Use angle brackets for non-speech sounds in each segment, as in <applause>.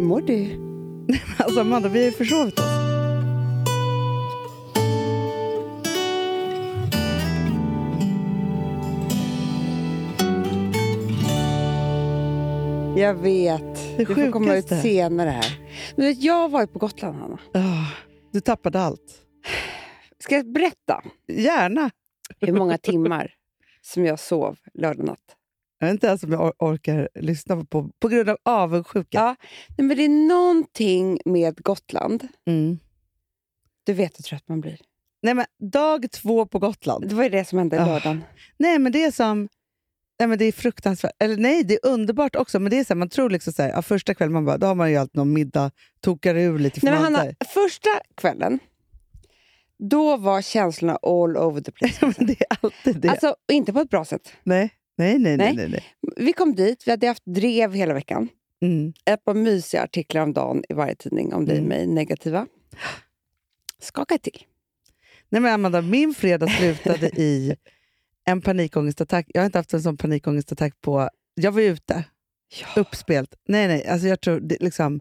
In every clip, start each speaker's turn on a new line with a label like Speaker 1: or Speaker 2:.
Speaker 1: mår du?
Speaker 2: Alltså Amanda, vi har ju försovit oss.
Speaker 1: Jag vet. du
Speaker 2: Det
Speaker 1: får komma ut
Speaker 2: sjukaste.
Speaker 1: senare här. Men vet, jag har varit på Gotland, Hanna.
Speaker 2: Ah, du tappade allt.
Speaker 1: Ska jag berätta
Speaker 2: Gärna.
Speaker 1: hur <laughs> många timmar som jag sov lördag natt?
Speaker 2: Jag vet inte ens om jag or- orkar lyssna på på grund av avundsjuka.
Speaker 1: Nej, men det är någonting med Gotland.
Speaker 2: Mm.
Speaker 1: Du vet hur trött man blir.
Speaker 2: Nej, men dag två på Gotland.
Speaker 1: Det var ju det som hände
Speaker 2: Ah.
Speaker 1: lördagen.
Speaker 2: Nej, men det är som... Nej, men det är fruktansvärt. Eller nej, det är underbart också. Men det är så här, man tror liksom så här, ja, första kvällen, man bara, då har man ju alltid någon middag, tokar ur lite.
Speaker 1: Nej, men
Speaker 2: förmodar.
Speaker 1: Hanna, första kvällen, då var känslorna all over the place.
Speaker 2: <laughs> Ja, men det är alltid det.
Speaker 1: Alltså, och inte på ett bra sätt.
Speaker 2: nej, nej, nej. nej,
Speaker 1: Nej.
Speaker 2: nej, nej.
Speaker 1: Vi kom dit, vi hade haft drev hela veckan.
Speaker 2: Mm.
Speaker 1: ett par mysiga artiklar om dagen i varje tidning om dig och
Speaker 2: Mm.
Speaker 1: mig, negativa. Skaka till.
Speaker 2: Nej men Amanda, min fredag
Speaker 1: <laughs>
Speaker 2: slutade i en panikångestattack. Jag har inte haft en sån panikångestattack på... Jag var ju ute, uppspelt. Nej, nej, alltså jag tror det, liksom...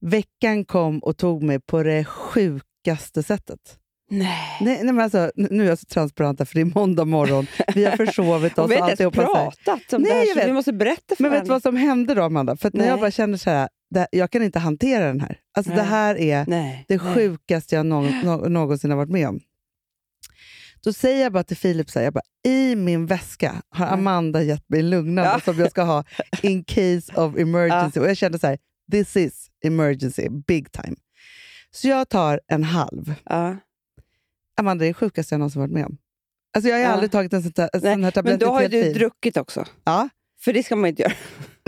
Speaker 2: Veckan kom och tog mig på det sjukaste sättet.
Speaker 1: Nej.
Speaker 2: Nej, nej men alltså, n- nu är jag så transparent här, för det är måndag morgon. Vi har försovit
Speaker 1: <laughs>
Speaker 2: oss
Speaker 1: Och vi
Speaker 2: och
Speaker 1: har inte ens
Speaker 2: alltihopa. så här.
Speaker 1: pratat om
Speaker 2: Nej,
Speaker 1: det här,
Speaker 2: jag
Speaker 1: så
Speaker 2: vet.
Speaker 1: vi måste berätta för
Speaker 2: Men vet du
Speaker 1: varandra.
Speaker 2: vad som hände då Amanda? För att när
Speaker 1: Nej.
Speaker 2: jag bara känner så här, det här, jag kan inte hantera den här. Alltså det
Speaker 1: Nej.
Speaker 2: här är...
Speaker 1: Nej.
Speaker 2: Det
Speaker 1: nej.
Speaker 2: sjukaste jag någon, nå- någonsin har varit med om. Då säger jag bara till Filip, så här, jag bara, i min väska har
Speaker 1: Mm.
Speaker 2: Amanda gett mig en lugnande
Speaker 1: Ja.
Speaker 2: som jag
Speaker 1: <laughs>
Speaker 2: ska ha in case of emergency. Och jag kände så här, this is emergency, big time. Så jag tar en halv.
Speaker 1: Ja.
Speaker 2: Amanda, det är det sjukaste jag någonsin varit med om. Alltså jag har ju
Speaker 1: Ja.
Speaker 2: aldrig tagit en sån, ta- en sån här
Speaker 1: Men
Speaker 2: tablett i
Speaker 1: då har ju
Speaker 2: ett helt
Speaker 1: du
Speaker 2: liv.
Speaker 1: druckit också.
Speaker 2: Ja.
Speaker 1: För det ska man ju inte göra.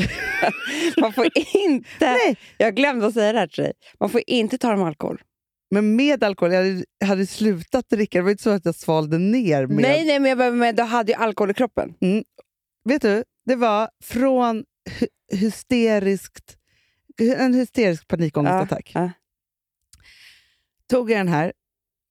Speaker 1: <laughs> man får inte...
Speaker 2: Nej.
Speaker 1: Jag glömde att säga det här till dig. Man får inte ta dem alkohol.
Speaker 2: Men med alkohol, jag hade, jag hade slutat dricka. Det var ju inte så att jag svalde ner. Med.
Speaker 1: Nej, nej, men, jag, bara- men du hade ju alkohol i kroppen.
Speaker 2: vet du, det var från hy- hysteriskt, en hysterisk panikångestattack.
Speaker 1: Ja, ja.
Speaker 2: Tog jag den här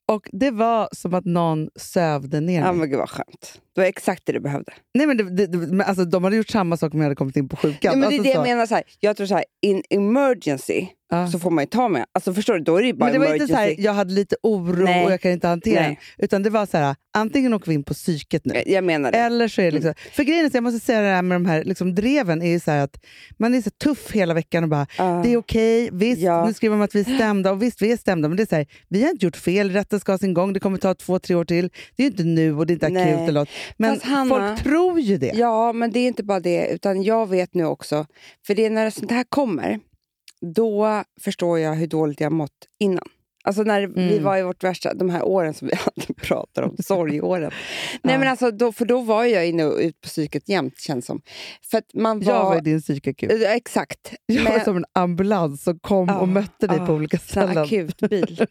Speaker 2: och det var som att någon sövde ner
Speaker 1: Ja,
Speaker 2: mig.
Speaker 1: men gud vad skönt. Det var exakt det du behövde.
Speaker 2: Nej, men det, det, det, men alltså, de hade gjort samma sak om jag hade kommit in på
Speaker 1: Nej,
Speaker 2: sjukan.
Speaker 1: men det är
Speaker 2: alltså,
Speaker 1: det jag
Speaker 2: så.
Speaker 1: menar. Så här. Jag tror så här, in emergency,
Speaker 2: Ja.
Speaker 1: så får man ju ta med. Alltså förstår du, då är det ju bara
Speaker 2: Men det var
Speaker 1: emergency.
Speaker 2: inte så här, jag hade lite oro
Speaker 1: Nej.
Speaker 2: och jag kan inte hantera
Speaker 1: Nej.
Speaker 2: den. Utan det var så här, antingen åker vi in på psyket nu.
Speaker 1: Jag- Jag menar det.
Speaker 2: Eller så är det liksom,
Speaker 1: Mm.
Speaker 2: För grejen är, så jag måste säga det här med de här liksom, dreven, är ju så här att man är så tuff hela veckan och bara
Speaker 1: Ja.
Speaker 2: Det är okej, visst,
Speaker 1: Ja.
Speaker 2: nu skriver man att vi är stämda och visst, vi är stämda, men det är så här, vi har inte gjort fel, rätten ska ha sin gång, det kommer ta två, tre år till. Det är ju inte nu och det är inte
Speaker 1: Nej.
Speaker 2: akut eller något. Men
Speaker 1: Fast Hanna-
Speaker 2: folk tror ju det.
Speaker 1: Ja, men det är inte bara det, utan jag vet nu också, för det är när sånt här kommer, då förstår jag hur dåligt jag mått innan. Alltså när vi
Speaker 2: Mm.
Speaker 1: var i vårt värsta, de här åren som vi <laughs> alltid pratar om, sorgåren. Nej
Speaker 2: Ja.
Speaker 1: men alltså, då, för då var jag inne och ut på psyket jämt känns som. För att man var...
Speaker 2: Jag var i din psykakut.
Speaker 1: Ja, Exakt.
Speaker 2: Jag var
Speaker 1: Men-
Speaker 2: som en ambulans som kom
Speaker 1: Ja,
Speaker 2: och mötte dig
Speaker 1: ja,
Speaker 2: på olika
Speaker 1: sån här <laughs>
Speaker 2: ställen. <laughs>
Speaker 1: Akutbil.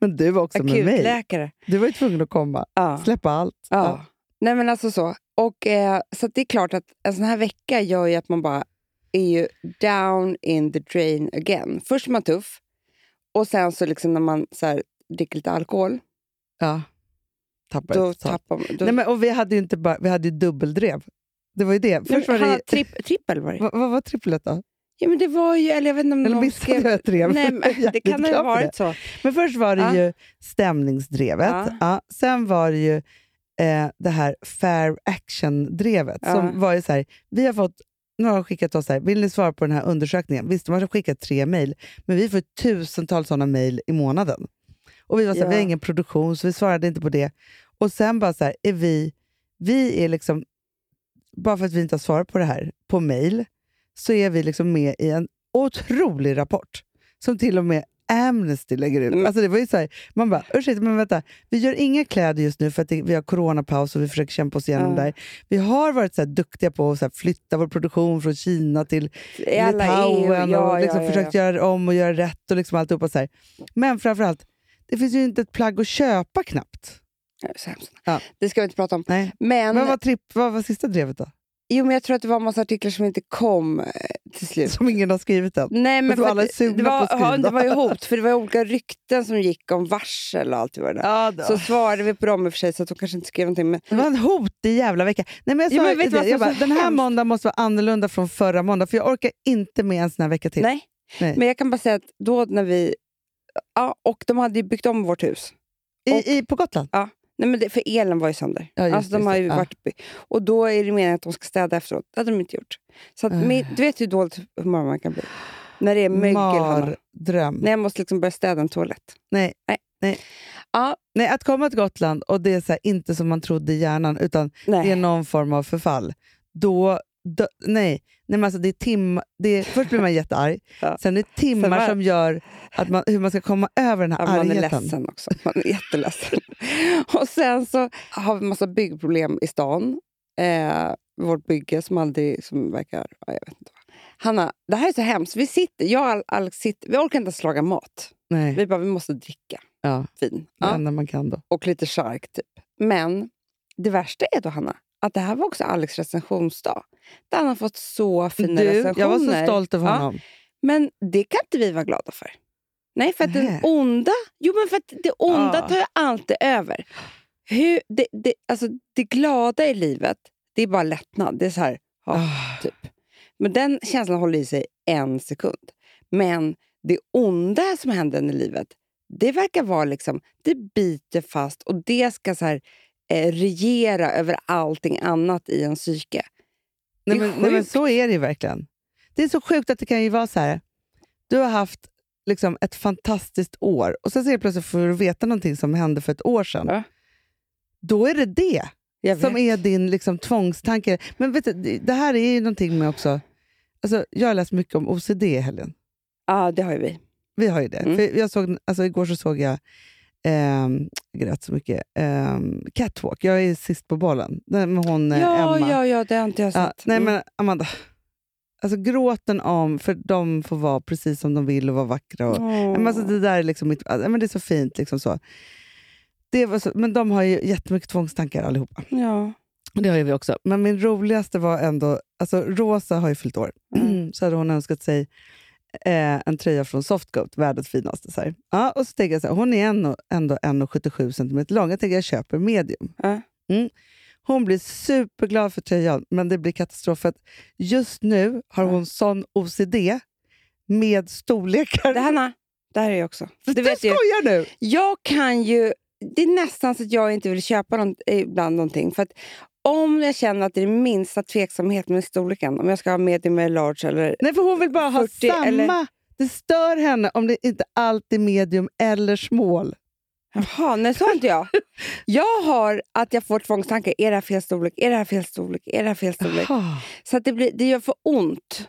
Speaker 2: Men du var också med mig.
Speaker 1: Akutläkare.
Speaker 2: Du var ju tvungen att komma,
Speaker 1: Ja.
Speaker 2: släppa allt.
Speaker 1: Ja. Nej, men alltså så. Och, eh, så att det är klart att en sån här vecka gör ju att man bara är ju down in the drain again. Först är man tuff och sen så liksom när man så här, dricker lite alkohol,
Speaker 2: ja. Tappar
Speaker 1: då
Speaker 2: ett tag.
Speaker 1: tappar man... Då,
Speaker 2: Nej, men, och vi hade ju inte bara, vi hade ju dubbeldrev. Det var ju det.
Speaker 1: Nej,
Speaker 2: Först
Speaker 1: men
Speaker 2: var
Speaker 1: Hanna,
Speaker 2: det,
Speaker 1: tripp, trippel var det.
Speaker 2: vad, vad var tripplet då?
Speaker 1: Ja, men det var ju... Eller jag vet inte om
Speaker 2: Eller
Speaker 1: någon
Speaker 2: missade
Speaker 1: skrev-
Speaker 2: <laughs> jag ett drev?
Speaker 1: Nej, men, det
Speaker 2: Jäkligt
Speaker 1: kan ha
Speaker 2: glad för det.
Speaker 1: varit så.
Speaker 2: Men först var det
Speaker 1: Ja.
Speaker 2: ju stämningsdrevet.
Speaker 1: Ja.
Speaker 2: Ja. Sen var det ju eh, det här fair action-drevet.
Speaker 1: Ja.
Speaker 2: Som var ju så här, vi har fått, några har skickat oss så här, vill ni svara på den här undersökningen? Visst, de har skickat tre mejl, men vi får tusentals sådana mejl i månaden. Och vi var så här,
Speaker 1: Ja.
Speaker 2: vi har ingen produktion, så vi svarade inte på det. Och sen bara så här, är vi, vi är liksom, bara för att vi inte har svarat på det här på mejl, så är vi liksom med i en otrolig rapport som till och med Amnesty lägger ut.
Speaker 1: Men-
Speaker 2: Alltså det var ju så här, man bara, ursäkta men vänta, vi gör inga kläder just nu för att det, vi har coronapaus och vi försöker kämpa oss igenom
Speaker 1: Ja.
Speaker 2: det där. Vi har varit så här duktiga på att så här flytta vår produktion från Kina till
Speaker 1: I alla EU,
Speaker 2: Litauen
Speaker 1: ja,
Speaker 2: och liksom
Speaker 1: ja, ja,
Speaker 2: försökt
Speaker 1: ja.
Speaker 2: göra om och göra rätt och liksom alltihopa så här. Men framförallt, det finns ju inte ett plagg att köpa knappt.
Speaker 1: Ja, så hemskt.
Speaker 2: Ja.
Speaker 1: Det ska vi inte prata om.
Speaker 2: Nej.
Speaker 1: Men,
Speaker 2: Vad, var tripp, vad var sista
Speaker 1: <laughs>
Speaker 2: drevet då?
Speaker 1: jo, men jag tror att det var en massa artiklar som inte kom eh, till slut.
Speaker 2: Som ingen har skrivit än.
Speaker 1: Nej, men
Speaker 2: då
Speaker 1: för
Speaker 2: alla
Speaker 1: att
Speaker 2: är sugna
Speaker 1: det, var,
Speaker 2: på att skriva.
Speaker 1: ja, det var ju hot, för det var ju olika rykten som gick om varsel och allt vad det var.
Speaker 2: Ja, då.
Speaker 1: Så svarade vi på dem i och för sig, så att de kanske inte skrev någonting. Men,
Speaker 2: Det var en hot i jävla vecka. Nej, men jag sa
Speaker 1: Ja, men vet du
Speaker 2: det,
Speaker 1: vad som
Speaker 2: jag
Speaker 1: var
Speaker 2: bara,
Speaker 1: så
Speaker 2: den här
Speaker 1: hemskt?
Speaker 2: måndagen måste vara annorlunda från förra måndagen för jag orkar inte med en sån här vecka till.
Speaker 1: nej,
Speaker 2: Nej.
Speaker 1: Men jag kan bara säga att då när vi... Ja, och de hade ju byggt om vårt hus. och-
Speaker 2: I, i, på Gotland?
Speaker 1: Nej, men det, för elen var ju sönder.
Speaker 2: Ja, just
Speaker 1: alltså,
Speaker 2: det,
Speaker 1: de
Speaker 2: just
Speaker 1: har
Speaker 2: det.
Speaker 1: ju
Speaker 2: Ja.
Speaker 1: varit, och då är det meningen att de ska städa efteråt. Det hade de inte gjort. Så att,
Speaker 2: Ah.
Speaker 1: min, du vet hur dåligt humör man kan bli. När det är mögel. Hanna.
Speaker 2: Mardröm.
Speaker 1: När jag måste liksom börja städa en toalett.
Speaker 2: Nej.
Speaker 1: Nej.
Speaker 2: Nej.
Speaker 1: Ja.
Speaker 2: Nej, att komma till Gotland och det är så här, inte som man trodde i hjärnan, utan det är
Speaker 1: Nej.
Speaker 2: någon form av förfall. Då, dö- nej, nej men alltså det är tim, det är, först blir man jättearg,
Speaker 1: <laughs> Ja.
Speaker 2: sen är det timmar
Speaker 1: Sen var-
Speaker 2: som gör att man, hur man ska komma över den här
Speaker 1: Ja, man är
Speaker 2: argheten.
Speaker 1: ledsen också. Man är jätteledsen. <laughs> och sen så har vi massa byggproblem i stan. Eh, vårt bygge som aldrig som verkar... Ja, jag vet inte. vad. Hanna, det här är så hemskt. Vi sitter, jag och Al- Alex sitter, vi orkar inte ens laga mat.
Speaker 2: Nej,
Speaker 1: Vi bara, vi måste dricka
Speaker 2: ja,
Speaker 1: vin.
Speaker 2: det
Speaker 1: Ja.
Speaker 2: enda man kan då.
Speaker 1: och lite chark. Typ. Men det värsta är då, Hanna, att det här var också Alex recensionsdag. Där han har fått så fina
Speaker 2: Du,
Speaker 1: recensioner.
Speaker 2: jag var så stolt över
Speaker 1: Ja.
Speaker 2: honom.
Speaker 1: Men det kan inte vi vara glada för. Nej, för att
Speaker 2: Nej.
Speaker 1: den onda... Jo, men för att det onda
Speaker 2: Ja.
Speaker 1: tar ju alltid över. Hur, det, det, alltså, det glada i livet, det är bara lättnad. Det är så här, ja,
Speaker 2: Ah.
Speaker 1: typ. Men den känslan håller i sig en sekund. Men det onda som händer i livet, det verkar vara liksom, det biter fast och det ska så här, eh, regera över allting annat i en psyke.
Speaker 2: Nej,
Speaker 1: Det är
Speaker 2: men, nej, men
Speaker 1: sjukt.
Speaker 2: så är det ju verkligen. Det är så sjukt att det kan ju vara så här. Du har haft liksom, ett fantastiskt år och sen så helt plötsligt får du veta någonting som hände för ett år sedan.
Speaker 1: Ja.
Speaker 2: Då är det det
Speaker 1: Jag
Speaker 2: som
Speaker 1: vet.
Speaker 2: är din liksom, tvångstanke. Men vet du, det- det här är ju någonting med också... Alltså, jag har läst mycket om OCD i helgen.
Speaker 1: Ja, det har ju vi.
Speaker 2: Vi har ju det.
Speaker 1: Mm.
Speaker 2: För jag såg, alltså, igår så såg jag, ehm, jag grät så mycket, ehm, Catwalk. Jag är sist på bollen. Den med hon eh,
Speaker 1: ja,
Speaker 2: Emma.
Speaker 1: ja, ja, det har inte jag sett.
Speaker 2: Ja, nej
Speaker 1: Mm.
Speaker 2: men Amanda, alltså gråten om, för de får vara precis som de vill och vara vackra. Och,
Speaker 1: Mm.
Speaker 2: Nej, men alltså, det där är liksom mitt, alltså, men det är så fint. Liksom så. Det var så, men de har ju jättemycket tvångstankar allihopa.
Speaker 1: Ja.
Speaker 2: Och Det har ju vi också. Men min roligaste var ändå, alltså Rosa har ju fyllt år.
Speaker 1: Mm.
Speaker 2: <clears throat> så hade hon önskat sig eh, en tröja från Softgoat, världens finaste. Så här. Ja, och så tänker jag så här, hon är ändå, ändå 1,77 cm lång. Jag tänker jag köper medium.
Speaker 1: Ja.
Speaker 2: Mm. Hon blir superglad för tröjan, men det blir katastrof. För att just nu har
Speaker 1: Ja.
Speaker 2: hon sån OCD med storlekar.
Speaker 1: Det, Hanna, det här är jag också.
Speaker 2: du
Speaker 1: <laughs> Du vet ju,
Speaker 2: skojar nu!
Speaker 1: jag kan ju... Det är nästan så att jag inte vill köpa någon, eh, ibland någonting. För att om jag känner att det är minsta tveksamhet med storleken, om jag ska ha medium eller large eller...
Speaker 2: Nej, för hon vill bara ha
Speaker 1: 40
Speaker 2: samma.
Speaker 1: eller-
Speaker 2: Det stör henne om det inte alltid är medium eller small.
Speaker 1: Jaha, nej så har inte
Speaker 2: <laughs>
Speaker 1: jag. Jag har att jag får tvångstankar. Är det här fel storlek? Är det här fel storlek? Är det här fel storlek?
Speaker 2: Ah.
Speaker 1: Så att det, blir, det gör för ont.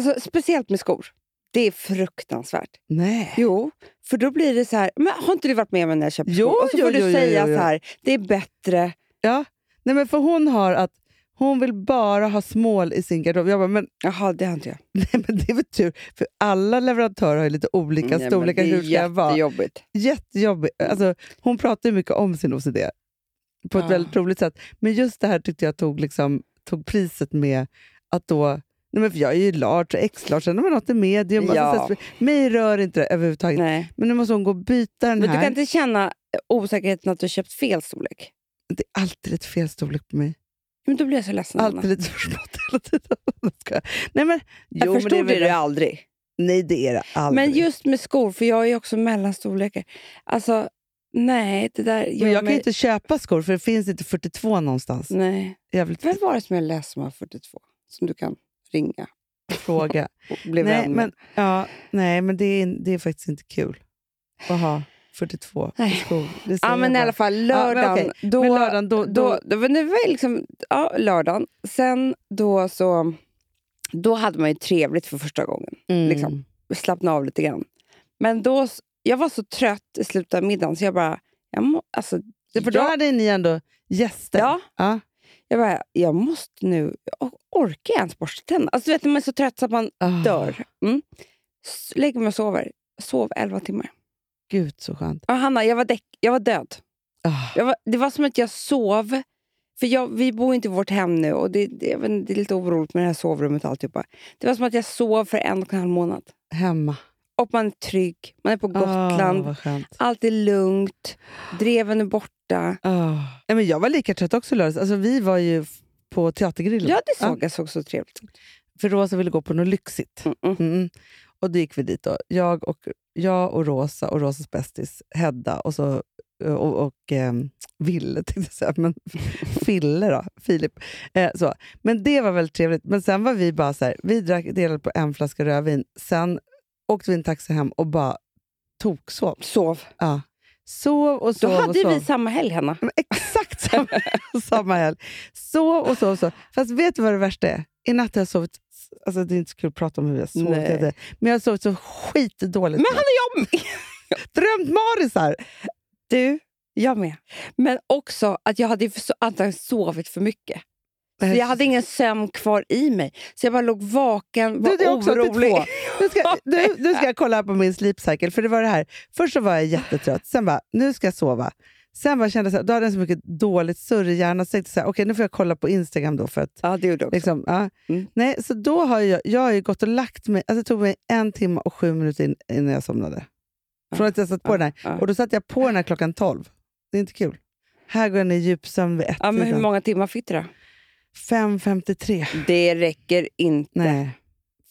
Speaker 1: Alltså, speciellt med skor. Det är fruktansvärt.
Speaker 2: Nej.
Speaker 1: Jo, för då blir det så här... Men har inte du varit med mig när jag köpte
Speaker 2: Jo,
Speaker 1: skor? Och så
Speaker 2: jo,
Speaker 1: får du
Speaker 2: jo, jo,
Speaker 1: säga
Speaker 2: jo, jo.
Speaker 1: så här, det är bättre...
Speaker 2: Nej, men för hon har att hon vill bara ha small i sin garderob. Jag bara, men, <laughs>
Speaker 1: Jaha, det har inte jag.
Speaker 2: nej, men det är väl tur, för alla leverantörer har ju lite olika
Speaker 1: Nej, men
Speaker 2: storlekar.
Speaker 1: Det är
Speaker 2: Hur ska jag vara?
Speaker 1: jättejobbigt.
Speaker 2: Jättejobbigt. Alltså, hon pratar ju mycket om sin OCD på ett
Speaker 1: Ja.
Speaker 2: väldigt roligt sätt. Men just det här tyckte jag tog, liksom, tog priset med att då... Nej, men för jag är ju large och x-large, sen har man något i medium.
Speaker 1: Ja.
Speaker 2: Alltså, så här, mig rör inte det överhuvudtaget.
Speaker 1: Nej.
Speaker 2: Men nu måste hon gå och byta den
Speaker 1: Men du
Speaker 2: här.
Speaker 1: kan inte känna osäkerheten att du köpt fel storlek?
Speaker 2: Det är alltid lite fel storlek på mig.
Speaker 1: Men då blir jag så ledsen, Anna.
Speaker 2: Alltid lite försmått <laughs> hela tiden. Jag skojar. Nej, men,
Speaker 1: Jag
Speaker 2: jo, men
Speaker 1: förstod
Speaker 2: väl
Speaker 1: det, det aldrig.
Speaker 2: Nej, det är det aldrig.
Speaker 1: Men just med skor, för jag är ju också mellanstorlekar. Alltså, nej, det där gör
Speaker 2: men jag kan
Speaker 1: mig...
Speaker 2: ju inte köpa skor för det finns inte 42 någonstans.
Speaker 1: Nej.
Speaker 2: Jävligt
Speaker 1: Vem var det som jag läste som var 42? Som du kan ringa <laughs>
Speaker 2: fråga.
Speaker 1: och bli
Speaker 2: nej,
Speaker 1: vän med?
Speaker 2: men, ja, nej, men det är, det är faktiskt inte kul att ha 42
Speaker 1: Nej.
Speaker 2: skor. Det säger
Speaker 1: Ja, men i
Speaker 2: jag
Speaker 1: alla
Speaker 2: bara.
Speaker 1: fall
Speaker 2: Ja, men
Speaker 1: lördagen.
Speaker 2: okej.
Speaker 1: då,
Speaker 2: Men lördagen, då-
Speaker 1: då,
Speaker 2: då-
Speaker 1: då, men det var ju liksom, ja, lördagen. Sen då så... Då hade man ju trevligt för första gången.
Speaker 2: Mm.
Speaker 1: liksom. slappna av lite grann. Men då, s- jag var så trött i slutet av middagen så jag bara, jag, må, alltså,
Speaker 2: Ja, för då
Speaker 1: jag,
Speaker 2: hade ni ändå gäster.
Speaker 1: ja,
Speaker 2: Ja.
Speaker 1: jag bara, jag måste nu, jag orkar jag ens borsta tänderna? Alltså du vet när man är så trött så att man
Speaker 2: Ah,
Speaker 1: dör. Mm. S- Lägger mig och sover. Sov 11 timmar.
Speaker 2: Gud, så skönt.
Speaker 1: Ja, Hanna, jag var, däck, jag var död.
Speaker 2: Ah,
Speaker 1: Jag var, det var som att jag sov. För jag, vi bor inte i vårt hem nu och det, det, jag vet inte, det är lite oroligt med det här sovrummet och alltihopa. Det var som att jag sov för en och en halv månad.
Speaker 2: hemma.
Speaker 1: Och man är trygg, man är på Gotland.
Speaker 2: Ah, vad skönt.
Speaker 1: Allt är lugnt. Dreven är borta.
Speaker 2: Ah. Nej, men jag var lika trött också lördags. Alltså, vi var ju f- på teatergrillen.
Speaker 1: Ja, det såg jag såg så trevligt ut.
Speaker 2: För Rosa ville gå på något lyxigt.
Speaker 1: Mm-mm.
Speaker 2: Mm. Och då gick vi dit. Då. Jag, och, jag och Rosa och Rosas bästis Hedda och, så, och, och eh, Ville, <laughs> tänkte jag säga. Men Fille då, Filip. Eh, så. Men det var väldigt trevligt. Men sen var vi bara så här, vi drack, delade på en flaska rödvin. Sen åkte vi en taxi hem och bara toksov.
Speaker 1: Sov.
Speaker 2: Ja. Sov och
Speaker 1: Då
Speaker 2: sov och
Speaker 1: hade
Speaker 2: sov.
Speaker 1: vi samma helg, Hanna.
Speaker 2: Men Exakt samma, <laughs> samma helg. Sov och sov och sov. Fast vet du vad det värsta är? I natt har jag sovit... Alltså det är inte så kul att prata om hur jag har sovit.
Speaker 1: Nej.
Speaker 2: jag vet. Men jag har sovit så skitdåligt.
Speaker 1: Men han är jag med!
Speaker 2: <laughs> Drömt marisar!
Speaker 1: Du, jag med. Men också att jag hade ju så- antagligen sovit för mycket. Så
Speaker 2: Eh.
Speaker 1: jag hade ingen sömn kvar i mig. Så jag bara låg vaken, var
Speaker 2: Du, det är också
Speaker 1: orolig.
Speaker 2: 82. Nu ska, nu, nu ska jag kolla här på min sleep cycle. För det var det här. Först så var jag jättetrött, sen bara, nu ska jag sova. Sen bara kände jag så här, då hade jag så mycket dåligt surr i hjärnan, så tänkte jag så här, okej nu får jag kolla på Instagram då för att
Speaker 1: Ja, det gjorde jag också.
Speaker 2: Liksom, ja.
Speaker 1: Mm.
Speaker 2: Nej, så då har jag, jag har ju gått och lagt mig. Alltså, det tog mig en timme och sju minuter in, innan jag somnade. Från att jag satt på
Speaker 1: Ja,
Speaker 2: den här.
Speaker 1: ja.
Speaker 2: Och då satte jag på den här klockan tolv. Det är inte kul. Här går jag ner i djupsömn vid liksom.
Speaker 1: Ja, men hur
Speaker 2: ett-tiden.
Speaker 1: många timmar fick du då?
Speaker 2: 5.53.
Speaker 1: Det räcker inte.
Speaker 2: Nej.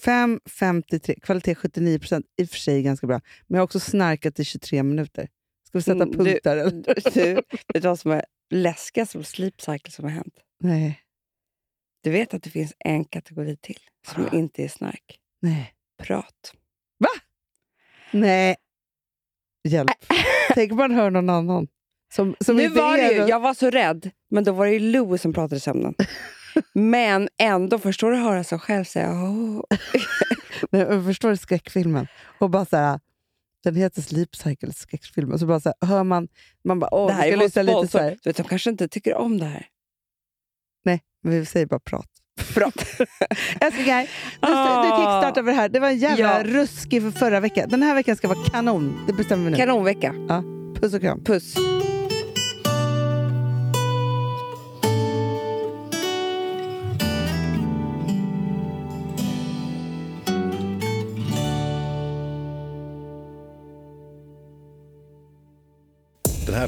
Speaker 2: 5.53. Kvalitet 79 procent. I och för sig ganska bra. Men jag har också snarkat i 23 minuter. Ska vi sätta
Speaker 1: Mm, du-
Speaker 2: punkt där? Eller?
Speaker 1: <laughs> Du, vet du vad som är läskigast med sleep cycle som har hänt?
Speaker 2: Nej.
Speaker 1: Du vet att det finns en kategori till som
Speaker 2: Vadå?
Speaker 1: inte är snark.
Speaker 2: Nej.
Speaker 1: Prat.
Speaker 2: Nej.
Speaker 1: <laughs>
Speaker 2: Hjälp. Tänk om man hör någon annan. Som, som
Speaker 1: nu
Speaker 2: inte
Speaker 1: var
Speaker 2: är
Speaker 1: det ju,
Speaker 2: då-
Speaker 1: jag var så rädd, men då var det ju Louis som pratade i
Speaker 2: <laughs>
Speaker 1: sömnen. Men ändå, förstår du höra sig själv säga åh.
Speaker 2: Nej, jag förstår skräckfilmen. Och bara så här, den heter Sleep Cycle, skräckfilmen. Så bara så här, hör man, man bara, åh,
Speaker 1: Det här
Speaker 2: vi
Speaker 1: är
Speaker 2: ska
Speaker 1: vår
Speaker 2: lyssna lite så
Speaker 1: sponsor.
Speaker 2: här.
Speaker 1: Du vet, de kanske inte tycker om det här.
Speaker 2: Nej, men vi säger bara prat.
Speaker 1: Prat.
Speaker 2: Älsklingar, du, du
Speaker 1: Ah.
Speaker 2: kickstartar vi det här. Det var en jävla
Speaker 1: Ja.
Speaker 2: ruskig för förra veckan. Den här veckan ska vara kanon. Det bestämmer vi nu.
Speaker 1: Kanonvecka.
Speaker 2: Puss och kram.
Speaker 1: Puss.
Speaker 3: Den här